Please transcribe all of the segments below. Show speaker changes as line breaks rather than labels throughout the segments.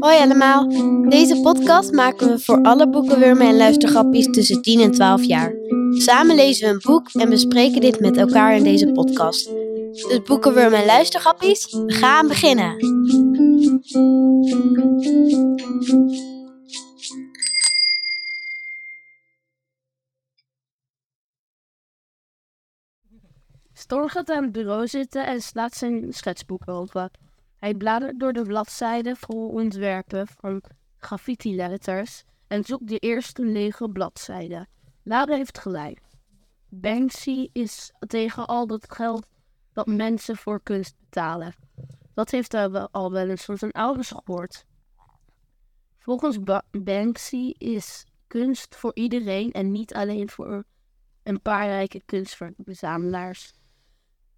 Hoi allemaal. Deze podcast maken we voor alle boekenwurmen en luistergrappies tussen 10 en 12 jaar. Samen lezen we een boek en bespreken dit met elkaar in deze podcast. Dus boekenwurmen en luistergrappies, we gaan beginnen.
Storm gaat aan het bureau zitten en slaat zijn schetsboek open. Hij bladert door de bladzijden vol ontwerpen van graffiti-letters en zoekt de eerste lege bladzijde. Lara heeft gelijk. Banksy is tegen al dat geld dat mensen voor kunst betalen. Dat heeft hij wel- al wel eens van zijn ouders gehoord. Volgens Ba- Banksy is kunst voor iedereen en niet alleen voor een paar rijke kunstverzamelaars.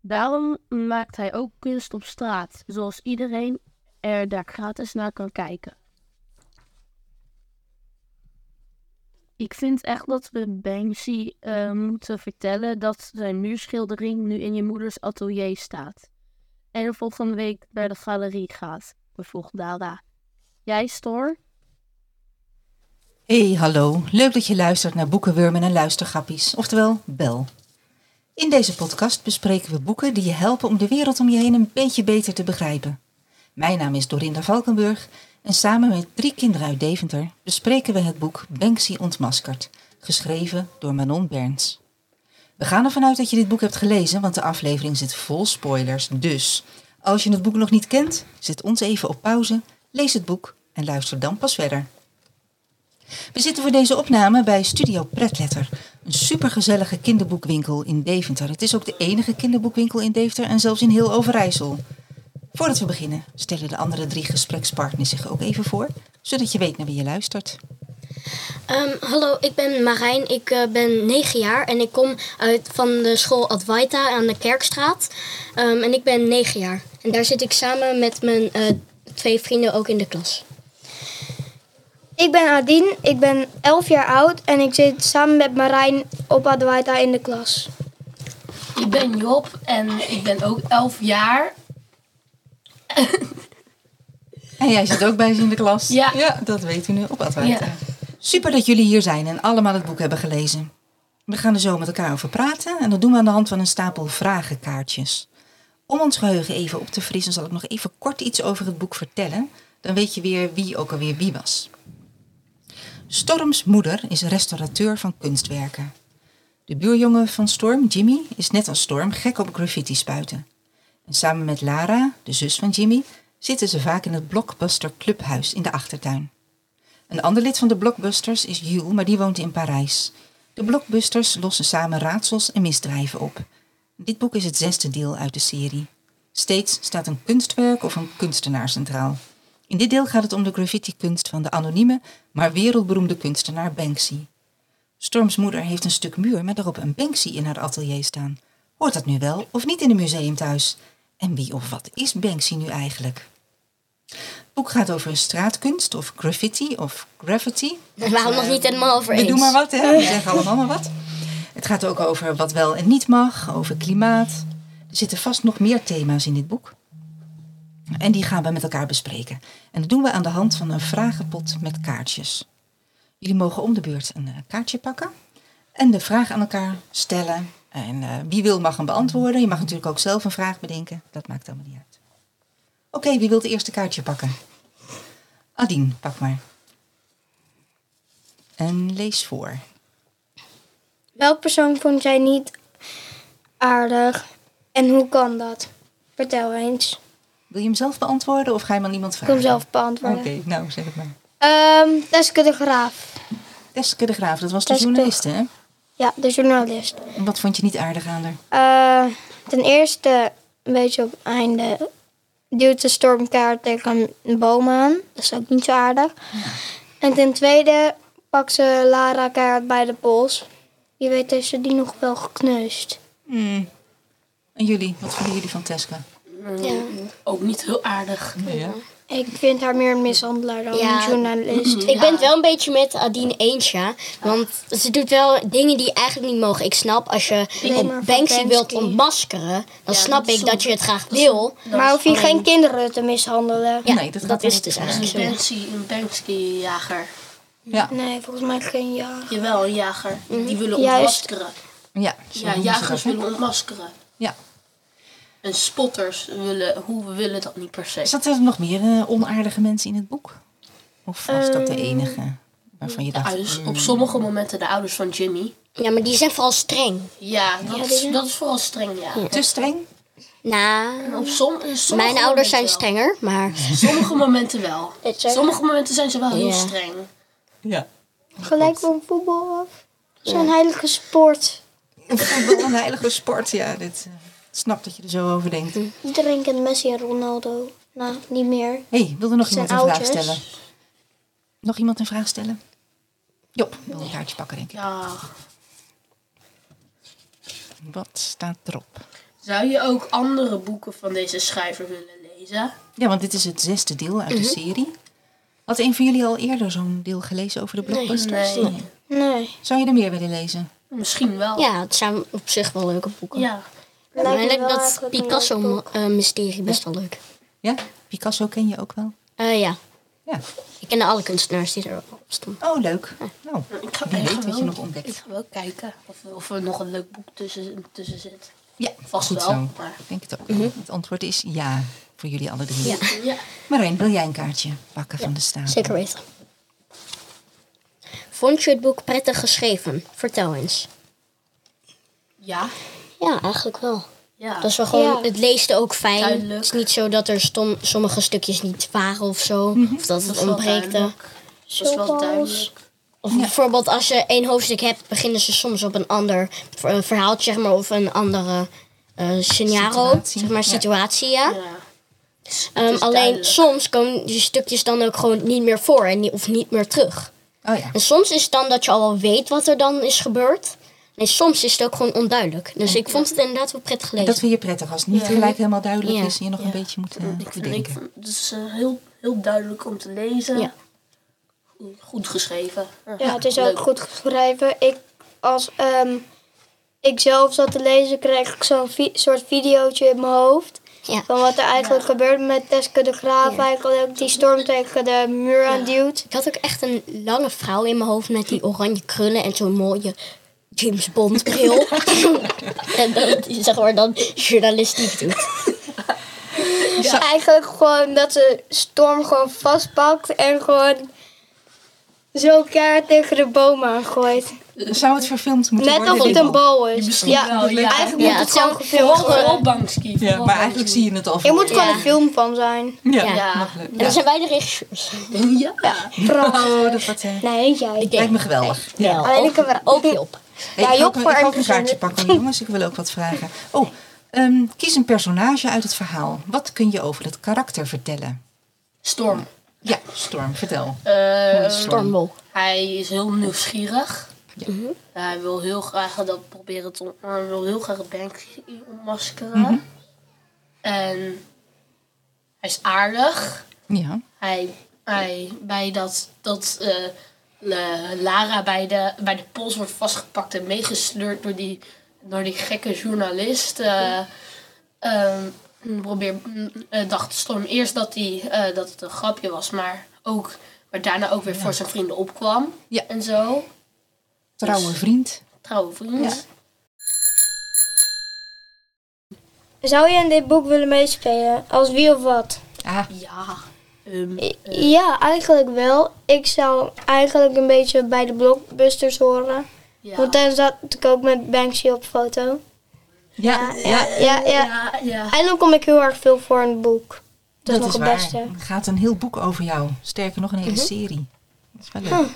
Daarom maakt hij ook kunst op straat, zoals iedereen er daar gratis naar kan kijken. Ik vind echt dat we Banksy eh, moeten vertellen dat zijn muurschildering nu in je moeders atelier staat. En volgende week naar de galerie gaat, bevoegt Dara. Jij, Stoor?
Hey, hallo. Leuk dat je luistert naar Boekenwurmen en Luistergrappies, oftewel Bel. In deze podcast bespreken we boeken die je helpen om de wereld om je heen een beetje beter te begrijpen. Mijn naam is Dorinda Valkenburg en samen met drie kinderen uit Deventer bespreken we het boek Banksy ontmaskerd, geschreven door Manon Berns. We gaan ervan uit dat je dit boek hebt gelezen, want de aflevering zit vol spoilers. Dus als je het boek nog niet kent, zet ons even op pauze, lees het boek en luister dan pas verder. We zitten voor deze opname bij Studio Pretletter. Een supergezellige kinderboekwinkel in Deventer. Het is ook de enige kinderboekwinkel in Deventer en zelfs in heel Overijssel. Voordat we beginnen, stellen de andere drie gesprekspartners zich ook even voor, zodat je weet naar wie je luistert.
Ehm, hallo, ik ben Marijn. Ik eh, ben 9 jaar en ik kom uit van de school Advaita aan de Kerkstraat. Ehm, en ik ben 9 jaar. En daar zit ik samen met mijn eh, twee vrienden ook in de klas.
Ik ben Adien, ik ben 11 jaar oud en ik zit samen met Marijn op Adwaita in de klas.
Ik ben Job en ik ben ook 11 jaar.
En jij zit ook bij ze in de klas.
Ja.
dat weet u nu op Adwaita.
Ja.
Super dat jullie hier zijn en allemaal het boek hebben gelezen. We gaan er zo met elkaar over praten en dat doen we aan de hand van een stapel vragenkaartjes. Om ons geheugen even op te frissen zal ik nog even kort iets over het boek vertellen. Dan weet je weer wie ook alweer wie was. Storms moeder is restaurateur van kunstwerken. De buurjongen van Storm, Jimmy, is net als Storm gek op graffiti spuiten. En samen met Lara, de zus van Jimmy, zitten ze vaak in het Blockbuster Clubhuis in de achtertuin. Een ander lid van de Blockbusters is Jules, maar die woont in Parijs. De Blockbusters lossen samen raadsels en misdrijven op. Dit boek is het zesde deel uit de serie. Steeds staat een kunstwerk of een kunstenaar centraal. In dit deel gaat het om de graffiti-kunst van de anonieme, maar wereldberoemde kunstenaar Banksy. Storms moeder heeft een stuk muur met daarop een Banksy in haar atelier staan. Hoort dat nu wel of niet in een museum thuis? En wie of wat is Banksy nu eigenlijk? Het boek gaat over straatkunst of graffiti of graffiti.
En waarom nog niet helemaal over
eh, We
eens?
doen maar wat, hè? We zeggen allemaal maar wat. Het gaat ook over wat wel en niet mag, over klimaat. Er zitten vast nog meer thema's in dit boek. En die gaan we met elkaar bespreken. En dat doen we aan de hand van een vragenpot met kaartjes. Jullie mogen om de beurt een eh, kaartje pakken en de vraag aan elkaar stellen. En eh, wie wil mag hem beantwoorden. Je mag natuurlijk ook zelf een vraag bedenken. Dat maakt allemaal niet uit. Oké, wie wil het eerste kaartje pakken? Adien, pak maar. En lees voor.
Welk persoon vond jij niet aardig en hoe kan dat? Vertel eens. Ik
Wil je hem zelf beantwoorden of ga je hem aan iemand
wil
vragen?
hem zelf
Oké,
beantwoorden.
nou zeg het maar.
Ehm, Teske de Graaf.
Teske de Graaf, dat was de
Teske.
journalist, hè?
Ja, de journalist.
En Wat vond je niet aardig aan haar?
Eh, ten eerste, een beetje op het einde, duwt de stormkaart tegen een boom aan. Dat is ook niet zo aardig. En ten tweede, pakt ze Lara kaart bij de pols. Wie weet heeft ze die nog wel gekneusd.
En jullie, wat vonden jullie van Teske?
maar
Ja.
ook niet heel aardig.
Ja.
Ik vind haar meer een mishandelaar dan
Ja.
een journalist.
Ik ben het wel een beetje met Adine eens, ja. Want ze doet wel dingen die eigenlijk niet mogen. Ik snap als je
maar van
Banksy, wilt
Banksy.
ontmaskeren, dan snap
dat is
ik dat
zo-
je het graag wil.
Maar hoef je geen kinderen te mishandelen?
Ja,
Nee, dat
dat,
gaat
is
niet.
dus
Dat
eigenlijk
is
zo.
een Banksy, een Banksy-jager.
Ja.
Nee, volgens mij geen ja.
Jawel, een jager. Die willen
Juist.
ontmaskeren.
Ja, zo
Ja,
noemen ze dat,
jagers
hè?
willen ontmaskeren.
Ja.
En spotters willen, hoe we willen dat niet per se.
Zaten er nog meer eh, onaardige mensen in het boek? Of was dat de
Ehm,
enige waarvan je
De
dacht...
ouders- dus op sommige momenten de ouders van Jimmy.
Ja, maar die zijn vooral streng.
Ja, dat, is, dat is vooral streng, ja.
Te streng?
Nou,
Op som, in sommige
mijn ouders
momenten
zijn
wel.
strenger, maar
Sommige momenten wel.
zeg-
Sommige momenten zijn ze wel heel
Ja.
streng.
Ja.
Gelijk van voetbal af. Zo'n heilige sport.
Voetbal een heilige sport, ja. Dit, eh, ik snap dat je er zo over denkt.
Iedereen kent Messi en Ronaldo. Nou, niet meer.
Hé, hey, wilde nog
zijn
iemand een vraag
ouders.
stellen? Nog iemand een vraag stellen? Job, wil een kaartje pakken, denk ik.
Ja.
Wat staat erop?
Zou je ook andere boeken van deze schrijver willen lezen?
Ja, want dit is het zesde deel
Mhm.
uit de serie. Had een van jullie al eerder zo'n deel gelezen over de blockbusters?
Nee.
Nee.
Zou je er meer willen lezen?
Misschien wel.
ja, het zijn op zich wel leuke boeken.
Ja.
Lijkt me
maar
wel
dat
eigenlijk een leuk boek.
Picasso-mysterie best wel leuk.
Ja? Picasso ken je ook wel?
Eh, ja,
Ja.
ik ken alle kunstenaars die erop stonden.
Oh, leuk. Nou,
Ik ga,
wie
ik ga
weet wat je
wel-
nog
Ik
ontdekt.
ga wel kijken of, of er nog een leuk boek tussen, tussen zit.
Ja,
Vast
goed
wel,
zo.
maar- Mhm.
Ik denk het ook. Het antwoord is ja voor jullie alle drie.
Ja.
Marijn, wil jij een kaartje pakken van de Oh stapel?
Zeker weten. Vond je het boek prettig geschreven? Vertel eens.
Ja.
Ja, eigenlijk wel.
Ja.
Dat is wel gewoon,
Ja.
het leest ook fijn.
Duidelijk.
Het is niet zo dat er stom, sommige stukjes niet waren of zo. Of dat
Mhm.
het
is wel
ontbreekte.
duidelijk. Dat is wel
Zoals-
duidelijk.
Of bijvoorbeeld als je één hoofdstuk hebt, beginnen ze soms op een ander ver- een verhaaltje, zeg maar, of een andere eh scenario,
Situatie.
zeg maar,
Ja.
situatie, ja.
Ja.
Ehm,
is
alleen
duidelijk.
soms komen die stukjes dan ook gewoon niet meer voor en niet, of niet meer terug.
Oh ja.
En soms is het dan dat je al wel weet wat er dan is gebeurd. En soms is het ook gewoon onduidelijk. Dus ik vond het inderdaad wel prettig gelezen.
Dat vind je prettig als het niet gelijk helemaal duidelijk
Ja.
is en je nog een beetje moet eh,
Mm, Ik vind, ik
bedenken.
vond- het is eh, heel, heel duidelijk om te lezen.
Ja.
Goed geschreven.
Ja, het is ook
Leuk.
goed geschreven. Ik, als ehm, ik zelf zat te lezen, kreeg ik zo'n vi- soort videootje in mijn hoofd.
Ja.
Van wat er eigenlijk gebeurt met Teske de Graaf eigenlijk. Die storm tegen de muur aan duwt.
Ik had ook echt een lange vrouw in mijn hoofd met die oranje krullen en zo'n mooie James Bond bril. en dan, die, zeg maar, dan journalistiek doet.
Eigenlijk gewoon dat ze storm gewoon vastpakt en gewoon zo keihard tegen de boom aangooit.
Zou het verfilmd moeten
Net
worden?
of het
dit
een
al?
bal is. Ja,
wel, ja.
eigenlijk
Ja,
moet het
het zou
gewoon gefilmd
Vooral
worden.
Banksy.
Ja,
vooral
maar eigenlijk zie je het al.
Er
voor
moet gewoon
Ja.
een film van zijn.
je. Ja.
Ja.
Ja. Nou,
Nog leuk.
En dan zijn wij de regisseurs.
Banksy. Ja.
Oh, dat wordt, eh,
Nee, jij.
lijkt me geweldig.
Wel,
Alleen
ook-
ik heb er-
ook Job.
Hey,
Ja,
ik ga
Job
ook, een-
voor
ik ga ook een
Anderson.
kaartje pakken, hoor, jongens. Ik wil ook wat vragen. Oh, ehm, kies een personage uit het verhaal. Wat kun je over het karakter vertellen?
Storm.
Ja, Storm, vertel.
Eh,
Stormwol.
Hij is heel nieuwsgierig.
Ja.
Hij wil heel graag dat proberen te on- hij wil heel graag het Banksy ontmaskeren.
Mhm.
En hij is aardig.
Ja.
Hij, hij bij dat, dat eh, La- Lara bij de, bij de pols wordt vastgepakt en meegesleurd door die, door die gekke journalist. eh, ehm, probeer, mm, eh, dacht Storm eerst dat, hij eh, dat het een grapje was, maar, ook, maar daarna ook weer voor zijn vrienden opkwam.
Ja.
En zo.
Trouwe vriend.
Trouwe vriend.
Zou je in dit boek willen meespelen? Als wie of wat?
Ah,
Ja. Ehm,
Ja, eigenlijk wel. Ik zou eigenlijk een beetje bij de blockbusters horen.
ja.
Want dan zat ik ook met Banksy op foto.
ja, ja,
Ja, eh, ja.
ja, ja.
Eigenlijk kom ik heel erg veel voor in het boek. Dat
dat
is nog
is
het
waar.
beste.
Er gaat een heel boek over jou. Sterker nog, een hele serie. Dat is wel leuk.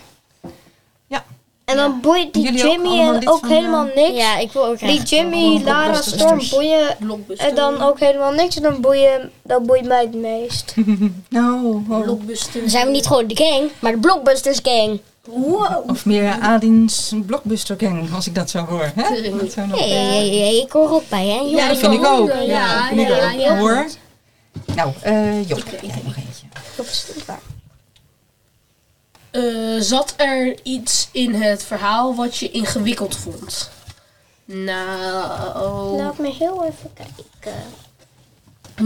Ja.
En dan boeit die
Jullie ook
Jimmy
allemaal
en
lid
ook
van,
helemaal
eh,
niks.
Ja, ik wil ook
die
graag.
Jimmy, Lara, Storm boeien
Blockbuster.
en dan ook helemaal niks. En dan boeien, dat boeit mij het meest.
Nou, oh.
Blockbuster.
Dan zijn we niet gewoon de gang, maar de Blockbusters gang.
of meer Adins Blockbuster Gang, als ik dat zo hoor. Hè? Dat zou nog-
Hé, hey, hey, hey, ik hoor ook bij, hè?
Ja,
jongen.
dat vind ik ook.
Ja, ja, ja.
Hoor. Nou, eh Job, jij nog eentje.
Job Stoelbaar.
Eh, zat er iets in het verhaal wat je ingewikkeld vond? Nou,
Laat me heel even kijken.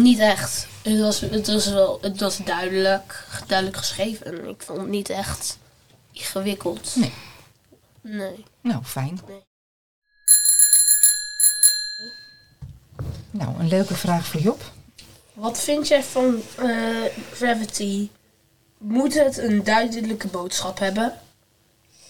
niet echt. Het was, het was, wel, het was duidelijk, duidelijk geschreven. Ik vond het niet echt ingewikkeld.
Nee.
Nee.
Nou, fijn.
Nee.
Nou, een leuke vraag voor Job.
Wat vind jij van eh, Gravity? Moet het een duidelijke boodschap hebben?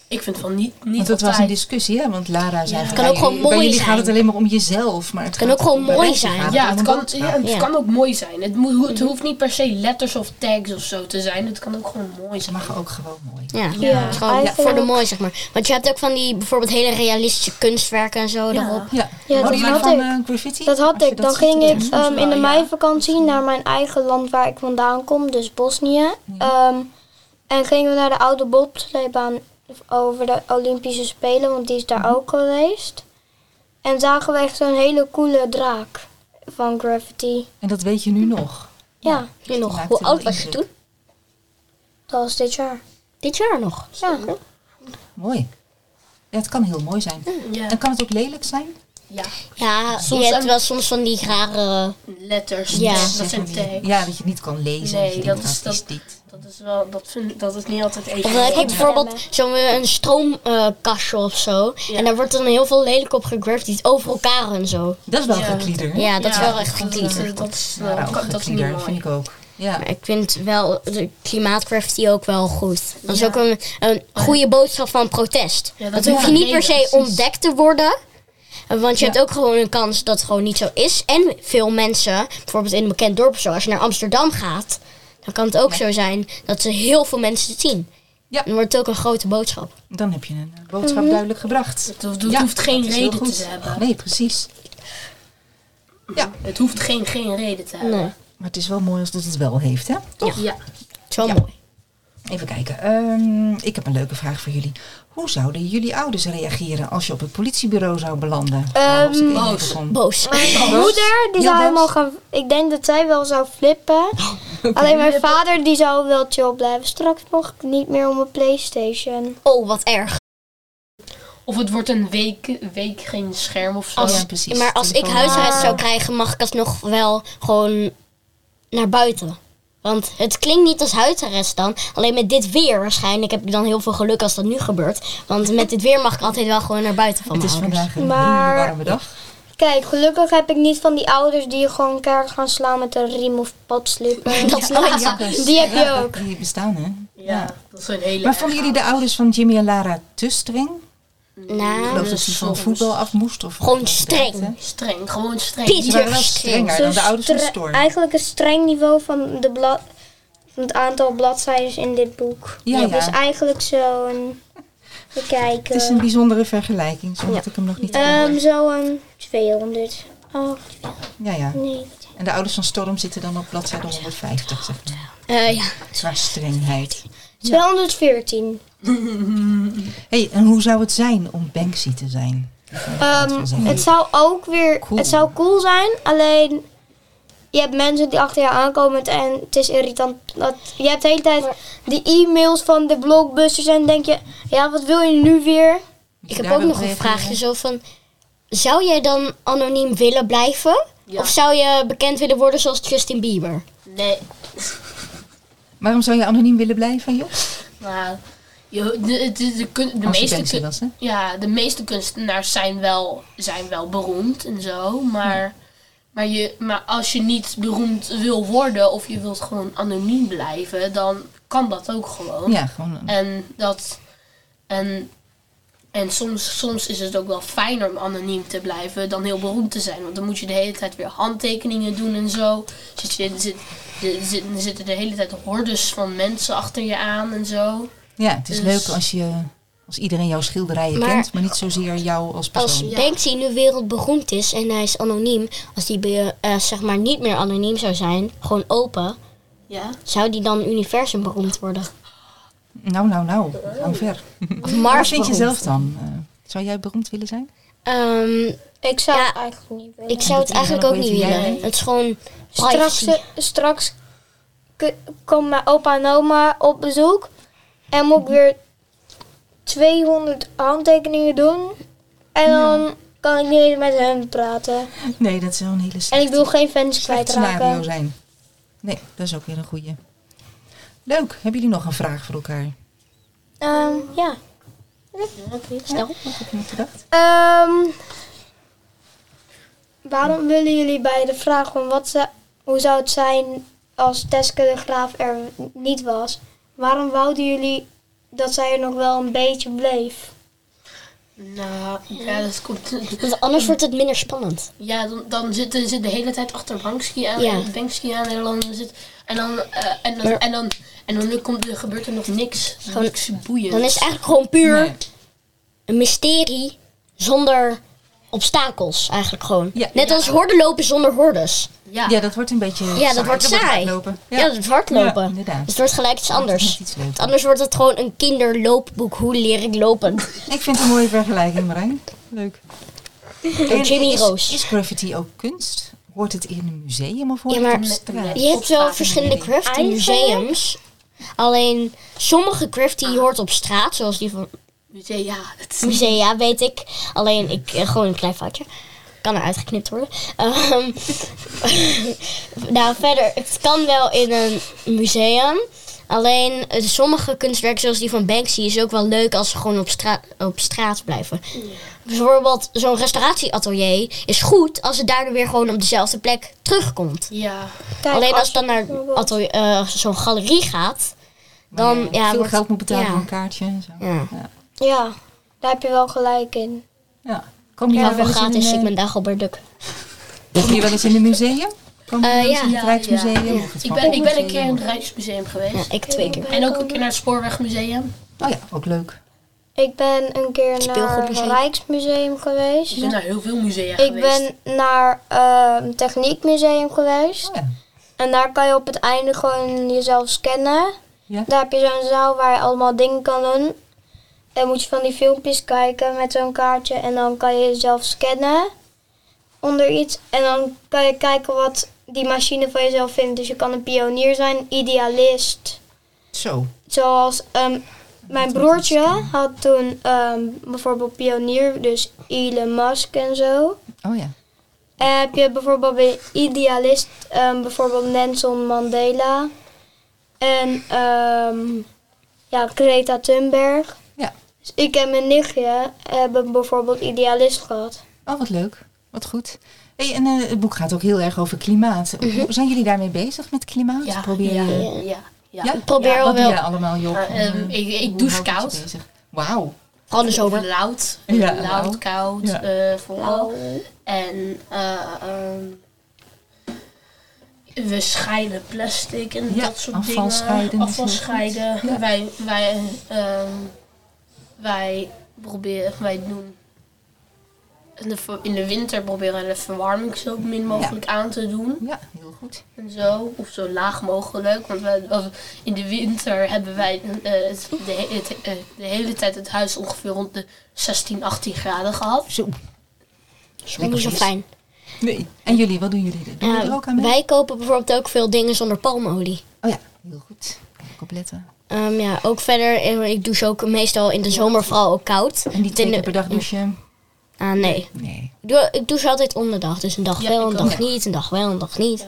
Ik vind van niet, niet
want dat was een
altijd.
discussie, hè? Want Lara zei...
het
van,
kan ook
bij
gewoon
jullie- bij
mooi
jullie gaat het
zijn.
alleen maar om jezelf. Maar het
kan
gaat
ook gewoon
om- bij
mooi
Rexy
zijn.
gaat
Ja,
om
het
een
kan,
boodschap.
ja, het
Ja.
kan ook mooi zijn. Het, moet,
Mm.
het hoeft niet per se letters of tags of zo te zijn. Het kan ook gewoon mooi
Het
zijn.
mag ook gewoon mooi.
Ja,
Ja,
is gewoon
eigenlijk-
voor de mooi, zeg maar. Want je hebt ook van die bijvoorbeeld hele realistische kunstwerken en zo daarop.
Ja,
Ja,
Houden
dat
jullie
had
van
ik.
eh, graffiti?
Dat
Als
had
je
ik. Dan
ziet,
ging
ja.
ik ehm, in de
ja.
meivakantie naar mijn eigen land waar ik vandaan kom, dus Bosnië. Ehm, en gingen we naar de oude bobsleebaan over de Olympische Spelen, want die is
Mhm.
daar ook geweest. En zagen we echt zo'n hele coole draak van Gravity.
En dat weet je nu nog.
Ja,
Nu nog,
maakt
hoe
heel
oud was je
indruk.
toen?
dat was dit jaar.
Dit jaar nog.
Ja.
Mooi. Ja, het kan heel mooi zijn.
Ja.
En kan het ook lelijk zijn?
Ja,
Ja,
Soms
je hebt
een-
wel soms van die rare...
letters,
Ja.
tags, dat
Zeg
zijn
maar die-
tags.
Ja, dat je het niet kan lezen.
Nee,
je
dat
denkt,
is-
wat
dat-
dit?
Dat is wel, dat vind dat is niet altijd
Of
even.
dan heb je bijvoorbeeld zo'n eh, een stroomkastje of zo.
Ja.
En daar wordt dan heel veel lelijk op gegraffitied. Over elkaar en zo.
Dat is wel
Ja.
geklieder. hè?
Ja, dat is
Ja,
wel echt gekliederd.
Dat, dat, is- eh,
Ja,
dat, kan- dat is niet
geklieder,
mooi.
vind ik ook. Ja.
Maar ik vind wel de klimaatgraffiti ook wel goed. Dat is
Ja.
ook een, een goede boodschap van protest.
Ja, dat
dat
is
hoef je niet per se
precies.
ontdekt te worden. eh, Want je hebt ook gewoon een kans dat het gewoon niet zo is. En veel mensen, bijvoorbeeld in een bekend dorp of zo, als je naar Amsterdam gaat, dan kan het ook zo zijn dat ze heel veel mensen het zien.
Ja.
Dan wordt het ook een grote boodschap.
Dan heb je een eh, boodschap duidelijk gebracht.
Het hoeft, het
Ja,
hoeft geen
dat is heel
reden
goed.
te hebben.
Nee, precies.
Het hoeft geen, geen reden te hebben.
Nee.
Maar het is wel mooi als dat het wel heeft, hè? Toch?
Ja.
Het is wel
Ja.
mooi.
Even kijken. Ehm, ik heb een leuke vraag voor jullie. Hoe zouden jullie ouders reageren als je op het politiebureau zou belanden? Nou, als ik even
boos.
begon.
Boos.
Mijn moeder,
Ja, Oh,
die zou
boos.
helemaal gaan... Ik denk dat zij wel zou flippen. Alleen mijn vader, die zou wel chill blijven. Straks mocht ik niet meer om mijn Playstation.
Oh, wat erg.
Of het wordt een week, week geen scherm of zo.
Als-
ja, precies.
maar als ik
Telefoon- Ah.
huisarrest zou krijgen, mag ik alsnog wel gewoon naar buiten. Want het klinkt niet als huisarrest dan. Alleen met dit weer waarschijnlijk heb ik dan heel veel geluk als dat nu gebeurt. Want met dit weer mag ik altijd wel gewoon naar buiten van
Het
mijn
is
ouders.
vandaag een
Maar-
hele warme dag.
Kijk, gelukkig heb ik niet van die ouders die je gewoon keihard gaan slaan met een riem of padslipper.
Dat snap ik wel.
Die heb je ook.
dus Die bestaan, hè?
ja, dat is een hele.
Maar vonden jullie de ouders van Jimmy en Lara te streng? Ik
Nou,
geloof dat ze van
soms.
voetbal af moest. Of
Gewoon
of-
streng.
streng, gewoon streng.
Piet.
Ze waren wel strenger dan de ouders van
Stre-
Storm.
Eigenlijk een streng niveau van, de blad, van het aantal bladzijden in dit boek.
Ja,
Het
ja.
is eigenlijk zo'n... We kijken.
Het is een bijzondere vergelijking, zodat ik hem nog niet...
Ehm, zo'n 200. Oh,
Ja, ja.
nee.
En de ouders van Storm zitten dan op bladzijde 150, zeg maar.
Eh, ja.
Qua strengheid.
214.
hey, en hoe zou het zijn om Banksy te zijn? Dat wil ik
Ehm,
wel zeggen.
het zou ook weer...
Cool.
Het zou cool zijn, alleen... Je hebt mensen die achter je aankomen en het is irritant. Dat, je hebt de hele tijd die e-mails van de blockbusters en denk je... Ja, wat wil je nu weer?
Moet je
Ik heb
daar
ook
wel
nog een
reageren?
vraagje zo van... Zou jij dan anoniem willen blijven?
Ja.
Of zou je bekend willen worden zoals Justin Bieber?
Nee,
Waarom zou je anoniem willen blijven, joh?
maar je, de, de, de, kun- de
Als je
meeste
Banksy
kun-
was, hè?
ja, de meeste kunstenaars zijn wel, zijn wel beroemd en zo, maar, maar, je, maar als je niet beroemd wil worden of je wilt gewoon anoniem blijven, dan kan dat ook gewoon.
Ja, gewoon... een-
En dat. En, en soms, soms is het ook wel fijner om anoniem te blijven dan heel beroemd te zijn. Want dan moet je de hele tijd weer handtekeningen doen en zo. Zit je, zit, je- zit, er zitten de hele tijd hordes van mensen achter je aan en zo.
Ja, het is
Dus-
leuk als je... Als iedereen jouw schilderijen
Maar-
kent, maar niet zozeer jou als
Als
persoon.
Banksy nu wereldberoemd is en hij is anoniem, als hij be- eh, zeg maar niet meer anoniem zou zijn, gewoon open,
Ja.
zou die dan universum beroemd worden?
Nou, nou, nou. Hou ver.
Of Mars
Wat vind je
beroemd?
zelf dan? Eh, zou jij beroemd willen zijn?
Ehm,
Ik zou
Ja.
het eigenlijk niet willen.
ik zou het eigenlijk ook niet willen. Het is gewoon
straks,
eh,
eh,
privacy.
straks k- komen mijn opa en oma op bezoek. En moet ik weer 200 handtekeningen doen. En dan kan ik niet met hen praten.
Nee, dat zou een hele slechte-
En ik wil geen fans
slecht scenario
kwijtraken.
zijn. Nee, dat is ook weer een goeie. Leuk. Hebben jullie nog een vraag voor elkaar?
Ehm, ja.
Snel.
Heb je nog gedacht?
Ehm, waarom willen jullie bij de vraag van wat ze, hoe zou het zijn als Teske de Graaf er niet was? Waarom wouden jullie dat zij er nog wel een beetje bleef?
Nou, ja, dat komt...
Want anders wordt het minder spannend.
Ja, dan, dan zit, zit de hele tijd achter Banksy aan,
Ja.
Banksy aan en dan zit... En dan, eh, en dan,
Maar-
en dan, en dan komt, er gebeurt er nog niks, niks boeiends.
Dan is het eigenlijk gewoon puur een mysterie zonder obstakels eigenlijk gewoon.
Ja.
Net als horden lopen zonder hordes.
Ja,
Ja, dat wordt een beetje
Ja, dat wordt saai.
Lopen.
Ja, dat is hardlopen.
Ja, inderdaad.
Dus het wordt gelijk iets anders.
Net iets leuks.
Want anders wordt het gewoon een kinderloopboek. Hoe leer ik lopen?
Ik vind het een mooie vergelijking, Marijn. Leuk. En
Jimmy
is,
Roos.
Is graffiti ook kunst? Hoort het in een museum of hoort
Ja,
het
maar
op straat?
Je hebt wel verschillende graffiti museums. Alleen sommige graffiti hoort op straat, zoals die van
ja, het is-
musea, Dus, eh, weet ik. Alleen ik, eh, gewoon een klein foutje. Kan eruit geknipt worden. Ehm, nou, verder, het kan wel in een museum. Alleen eh, sommige kunstwerken, zoals die van Banksy, is ook wel leuk als ze gewoon op straat, op straat blijven. Bijvoorbeeld, zo'n restauratieatelier is goed als het daardoor weer gewoon op dezelfde plek terugkomt.
ja.
Kijk,
Alleen als het dan
je
naar
bijvoorbeeld-
atelier- eh, zo'n galerie gaat, dan
Oh Ja,
ja,
veel
wordt-
geld moet betalen
ja.
voor een kaartje en zo.
Ja.
Ja, daar heb je wel gelijk in.
Ja. Kom je,
Ja,
nou
voor
wel eens in
gratis, ik
een,
ben Dagobert Duk.
eh, kom je wel eens in een museum? Kom je
Eh,
wel eens
ja.
in het
Ja,
Rijksmuseum?
ja.
Of het
Ik ben, ik ben een
Vakkenmuseum
keer in
of-
het Rijksmuseum
Ja,
geweest.
ik twee keer.
En ook een keer naar het Spoorwegmuseum.
Oh ja, ook leuk.
Ik ben een keer naar het
Speelgoedmuseum.
Rijksmuseum geweest.
Ik ben naar heel veel musea
Ik
geweest.
ben naar eh, een techniekmuseum geweest.
Oh ja.
En daar kan je op het einde gewoon jezelf scannen.
Ja.
Daar heb je zo'n zaal waar je allemaal dingen kan doen. Dan moet je van die filmpjes kijken met zo'n kaartje. En dan kan je jezelf scannen onder iets. En dan kan je kijken wat die machine van jezelf vindt. Dus je kan een pionier zijn, idealist.
Zo.
Zoals ehm, mijn broertje had toen ehm, bijvoorbeeld pionier, dus Elon Musk en zo.
Oh ja.
En heb je bijvoorbeeld bij idealist, ehm, bijvoorbeeld Nelson Mandela. En ehm, ja, Greta Thunberg.
Ja.
Dus ik en mijn nichtje hebben bijvoorbeeld idealist gehad.
Oh, wat leuk. Wat goed. Hey, en eh, het boek gaat ook heel erg over klimaat. Hoe- Zijn jullie daarmee bezig met klimaat?
Ja,
Probeer
ja,
je...
ja, ja.
Ja?
Probeer
Ja,
wel
Wat doe
wel.
jij allemaal, Job?
Maar, ehm,
Eh,
ik- ik
hoe
douche
houdt het je
koud.
bezig? Wauw.
Vooral in de zomer.
Dus Loud,
Ja, lauw.
loud, koud,
Ja.
eh, vooral. En eh, ehm, we scheiden plastic en
Ja,
dat soort
afval
dingen.
scheiden is
Afval
heel goed.
scheiden.
Ja.
Wij, wij, ehm, wij proberen, wij doen. In de, ver- in de winter proberen we de verwarming zo min mogelijk aan te doen.
Ja, heel goed.
En zo, of zo laag mogelijk. Want wij, als- in de winter hebben wij eh, het, de, he- het, eh, de hele tijd het huis ongeveer rond de 16, 18 graden gehad.
Zo.
Dat is zo fijn.
Nee. En jullie, wat doen jullie? Doen jullie er
Ja,
ook aan mee?
wij kopen bijvoorbeeld ook veel dingen zonder palmolie.
Oh ja, heel goed. Kan ik op letten.
Ehm, ja, ook verder, eh, ik douche ook meestal in de zomer vooral ook koud.
En die
Want in
twee
de-
keer per dag douchen?
Ah, nee.
Nee.
Ik doe, ik douche altijd onderdag. Dus een dag
Ja,
wel, een
ik
dag
ook.
niet, een dag wel, een dag niet.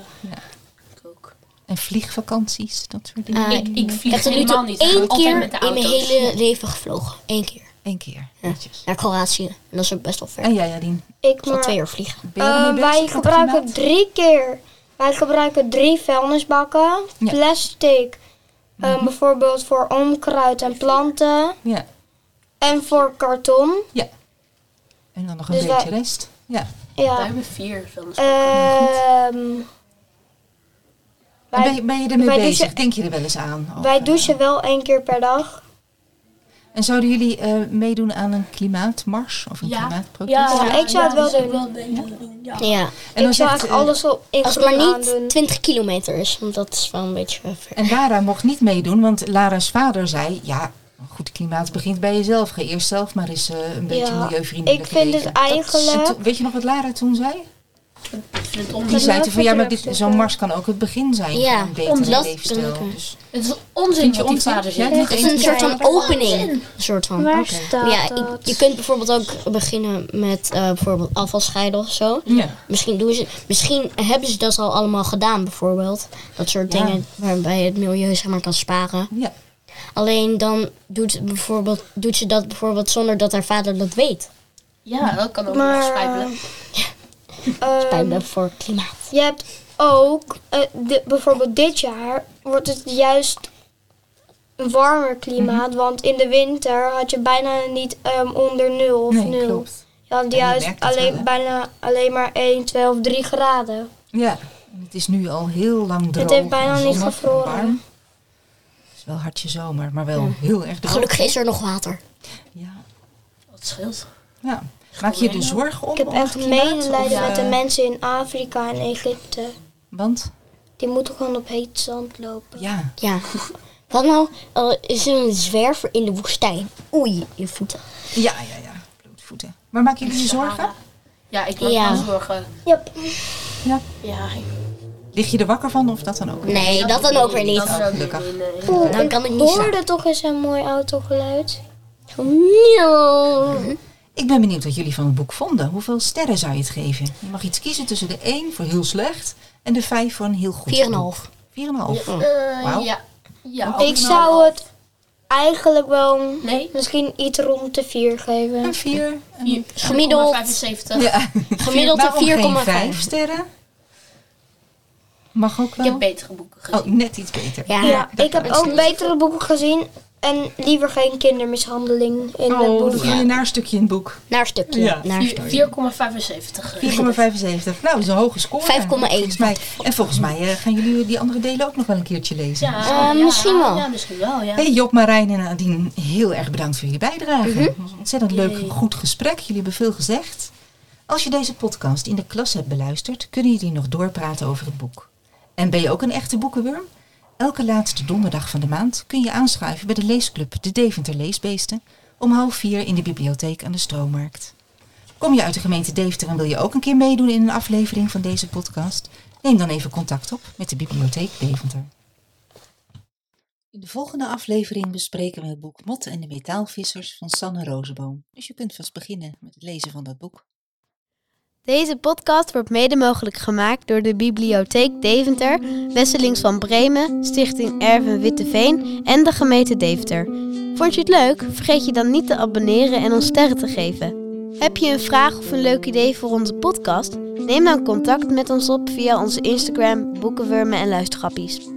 Ik ook.
En vliegvakanties, dat soort dingen?
Ah,
Ik, ik
ik
vlieg
heb tot nu
helemaal
toe
niet. Ik ga
één
altijd
keer
met de
in mijn
auto's.
hele leven gevlogen. Eén keer.
Eén keer.
Ja.
Netjes.
Naar Kroatië. En dat is ook best wel ver.
En jij, Jadien?
Ik
Zo twee
maar,
uur vliegen.
Ben je ermee
Ehm,
bezig
wij
met
gebruiken
klimaat?
drie keer. Wij gebruiken drie vuilnisbakken.
Ja. Mhm.
Plastic. ehm, Bijvoorbeeld voor onkruid en planten.
Ja.
En voor karton.
En dan nog een
Dus wij-
beetje rest. Ja.
Wij
Ja.
hebben vier van
Eh,
de
Ehm
En ben,
wij,
je- ben je ermee
wij
bezig?
douchen-
Denk je er wel eens aan? Of,
wij
eh,
douchen wel één keer per dag.
En zouden jullie eh, meedoen aan een klimaatmars of een
Ja.
klimaatprotest?
ja,
Ja, ik zou het wel
dat
doen.
mee doen, ja.
Ja.
En dan
ik zou
zegt,
eigenlijk
eh,
alles op in
Als het maar
groen
niet
aandoen.
20 kilometer is. Want dat is wel een beetje eh, ver.
En Lara mocht niet meedoen, want Lara's vader zei: Ja, goed, klimaat begint bij jezelf. Ga eerst zelf maar eens eh, een beetje
Ja,
milieuvriendelijk
ik vind het
leven. Dat is-
eigenlijk-
weet je nog wat Lara toen zei?
Ik vind het
Die
onzin.
zei toen van ja, maar
wat je
dit-
ook
zo'n
zegt,
mars kan ook het begin zijn
Ja,
van een betere
dat-
leefstijl. Dus,
Het is onzin
Vind je
wat die
onzin?
vader
Ja,
zegt.
die
Het is een soort van opening. Een soort van.
Waar
Oké.
staat
Ja,
dat?
ik- je kunt bijvoorbeeld ook beginnen met eh, bijvoorbeeld afval scheiden of zo.
ja.
Misschien, doen ze, misschien hebben ze dat al allemaal gedaan, bijvoorbeeld. Dat soort
Ja.
dingen waarbij je het milieu zeg maar, kan sparen.
ja.
Alleen dan doet, ze bijvoorbeeld, doet ze dat bijvoorbeeld zonder dat haar vader dat weet.
Ja, dat kan ook
Maar,
nog spijbelen.
Ehm,
Spijbelen voor het klimaat.
Je hebt ook, eh, di- bijvoorbeeld dit jaar, wordt het juist een warmer klimaat.
Mhm.
Want in de winter had je bijna niet ehm, onder nul of
Nee,
nul.
klopt.
Je had
je
juist
merkt het
alleen,
wel, hè?
bijna alleen maar 1, 2 of 3 graden.
Ja, en het is nu al heel lang droog.
heeft bijna
en
niet
zonnig en
gevroren.
warm. Het is wel hartje zomer, maar wel heel erg droog.
Gelukkig is er nog water.
Ja.
Dat scheelt.
ja. Maak je er zorgen om?
Ik heb
om
echt
het klimaat?
medelijden
Of,
met de
eh,
mensen in Afrika en Egypte.
Want,
Die moeten gewoon op heet zand lopen.
ja,
Ja. Wat nou? Er is een zwerver in de woestijn. Oei, je voeten.
ja, ja, ja. Bloedvoeten. Maar maak jullie je zorgen?
Ja, ik maak
Ja.
me zorgen.
Yep.
Ja, ik
Lig je er wakker van of dat dan ook?
Nee, dat dan ook weer
dat
niet.
er ook niet
gelukkig.
in. eh,
Oeh,
Dan
ik
Nou, kan ik niet slapen.
hoorde toch eens een mooi autogeluid.
Ik ben benieuwd wat jullie van het boek vonden. Hoeveel sterren zou je het geven? Je mag iets kiezen tussen de 1 voor heel slecht en de 5 voor een heel goed.
4,5.
4,5.
eh,
Oh. Wauw.
Ja. Ja, ook
Ik
nog.
zou het eigenlijk wel
Nee,
misschien iets rond de 4 geven.
Een 4. Een...
vier-
Gemiddeld.
75.
Ja.
Gemiddeld
Waarom nou geen
een
5
4,5.
sterren? Mag ook
Ik
wel.
heb betere boeken gezien.
Oh, net iets beter.
Ja.
Ja, ik heb
is
ook
niet-
betere boeken gezien en liever geen kindermishandeling in het
Oh,
boek.
dat vind je naar stukje in het boek. 4,75.
Naar stukje.
Ja.
Naar
Vier-
stukje.
4,75.
Nou, dat is een hoge score.
5,1.
Volgens mij- En volgens mij eh, gaan jullie die andere delen ook nog wel een keertje lezen.
Ja,
Eh,
ja,
misschien wel.
Ja, misschien wel, ja.
Hey Job, Marijn en Nadine, heel erg bedankt voor jullie bijdrage. Het was een ontzettend leuk, goed gesprek. Jullie hebben veel gezegd. Als je deze podcast in de klas hebt beluisterd, kunnen jullie nog doorpraten over het boek. En ben je ook een echte boekenworm? Elke laatste donderdag van de maand kun je aanschuiven bij de leesclub De Deventer Leesbeesten om half vier in de bibliotheek aan de Stroommarkt. Kom je uit de gemeente Deventer en wil je ook een keer meedoen in een aflevering van deze podcast? Neem dan even contact op met de bibliotheek Deventer. In de volgende aflevering bespreken we het boek Mot en de Metaalvissers van Sanne Rozenboom. Dus je kunt vast beginnen met het lezen van dat boek.
Deze podcast wordt mede mogelijk gemaakt door de Bibliotheek Deventer, Wesselings van Bremen, Stichting Erven Witteveen en de gemeente Deventer. Vond je het leuk? Vergeet je dan niet te abonneren en ons sterren te geven. Heb je een vraag of een leuk idee voor onze podcast? Neem dan contact met ons op via onze Instagram, Boekenwurmen en Luistergrappies.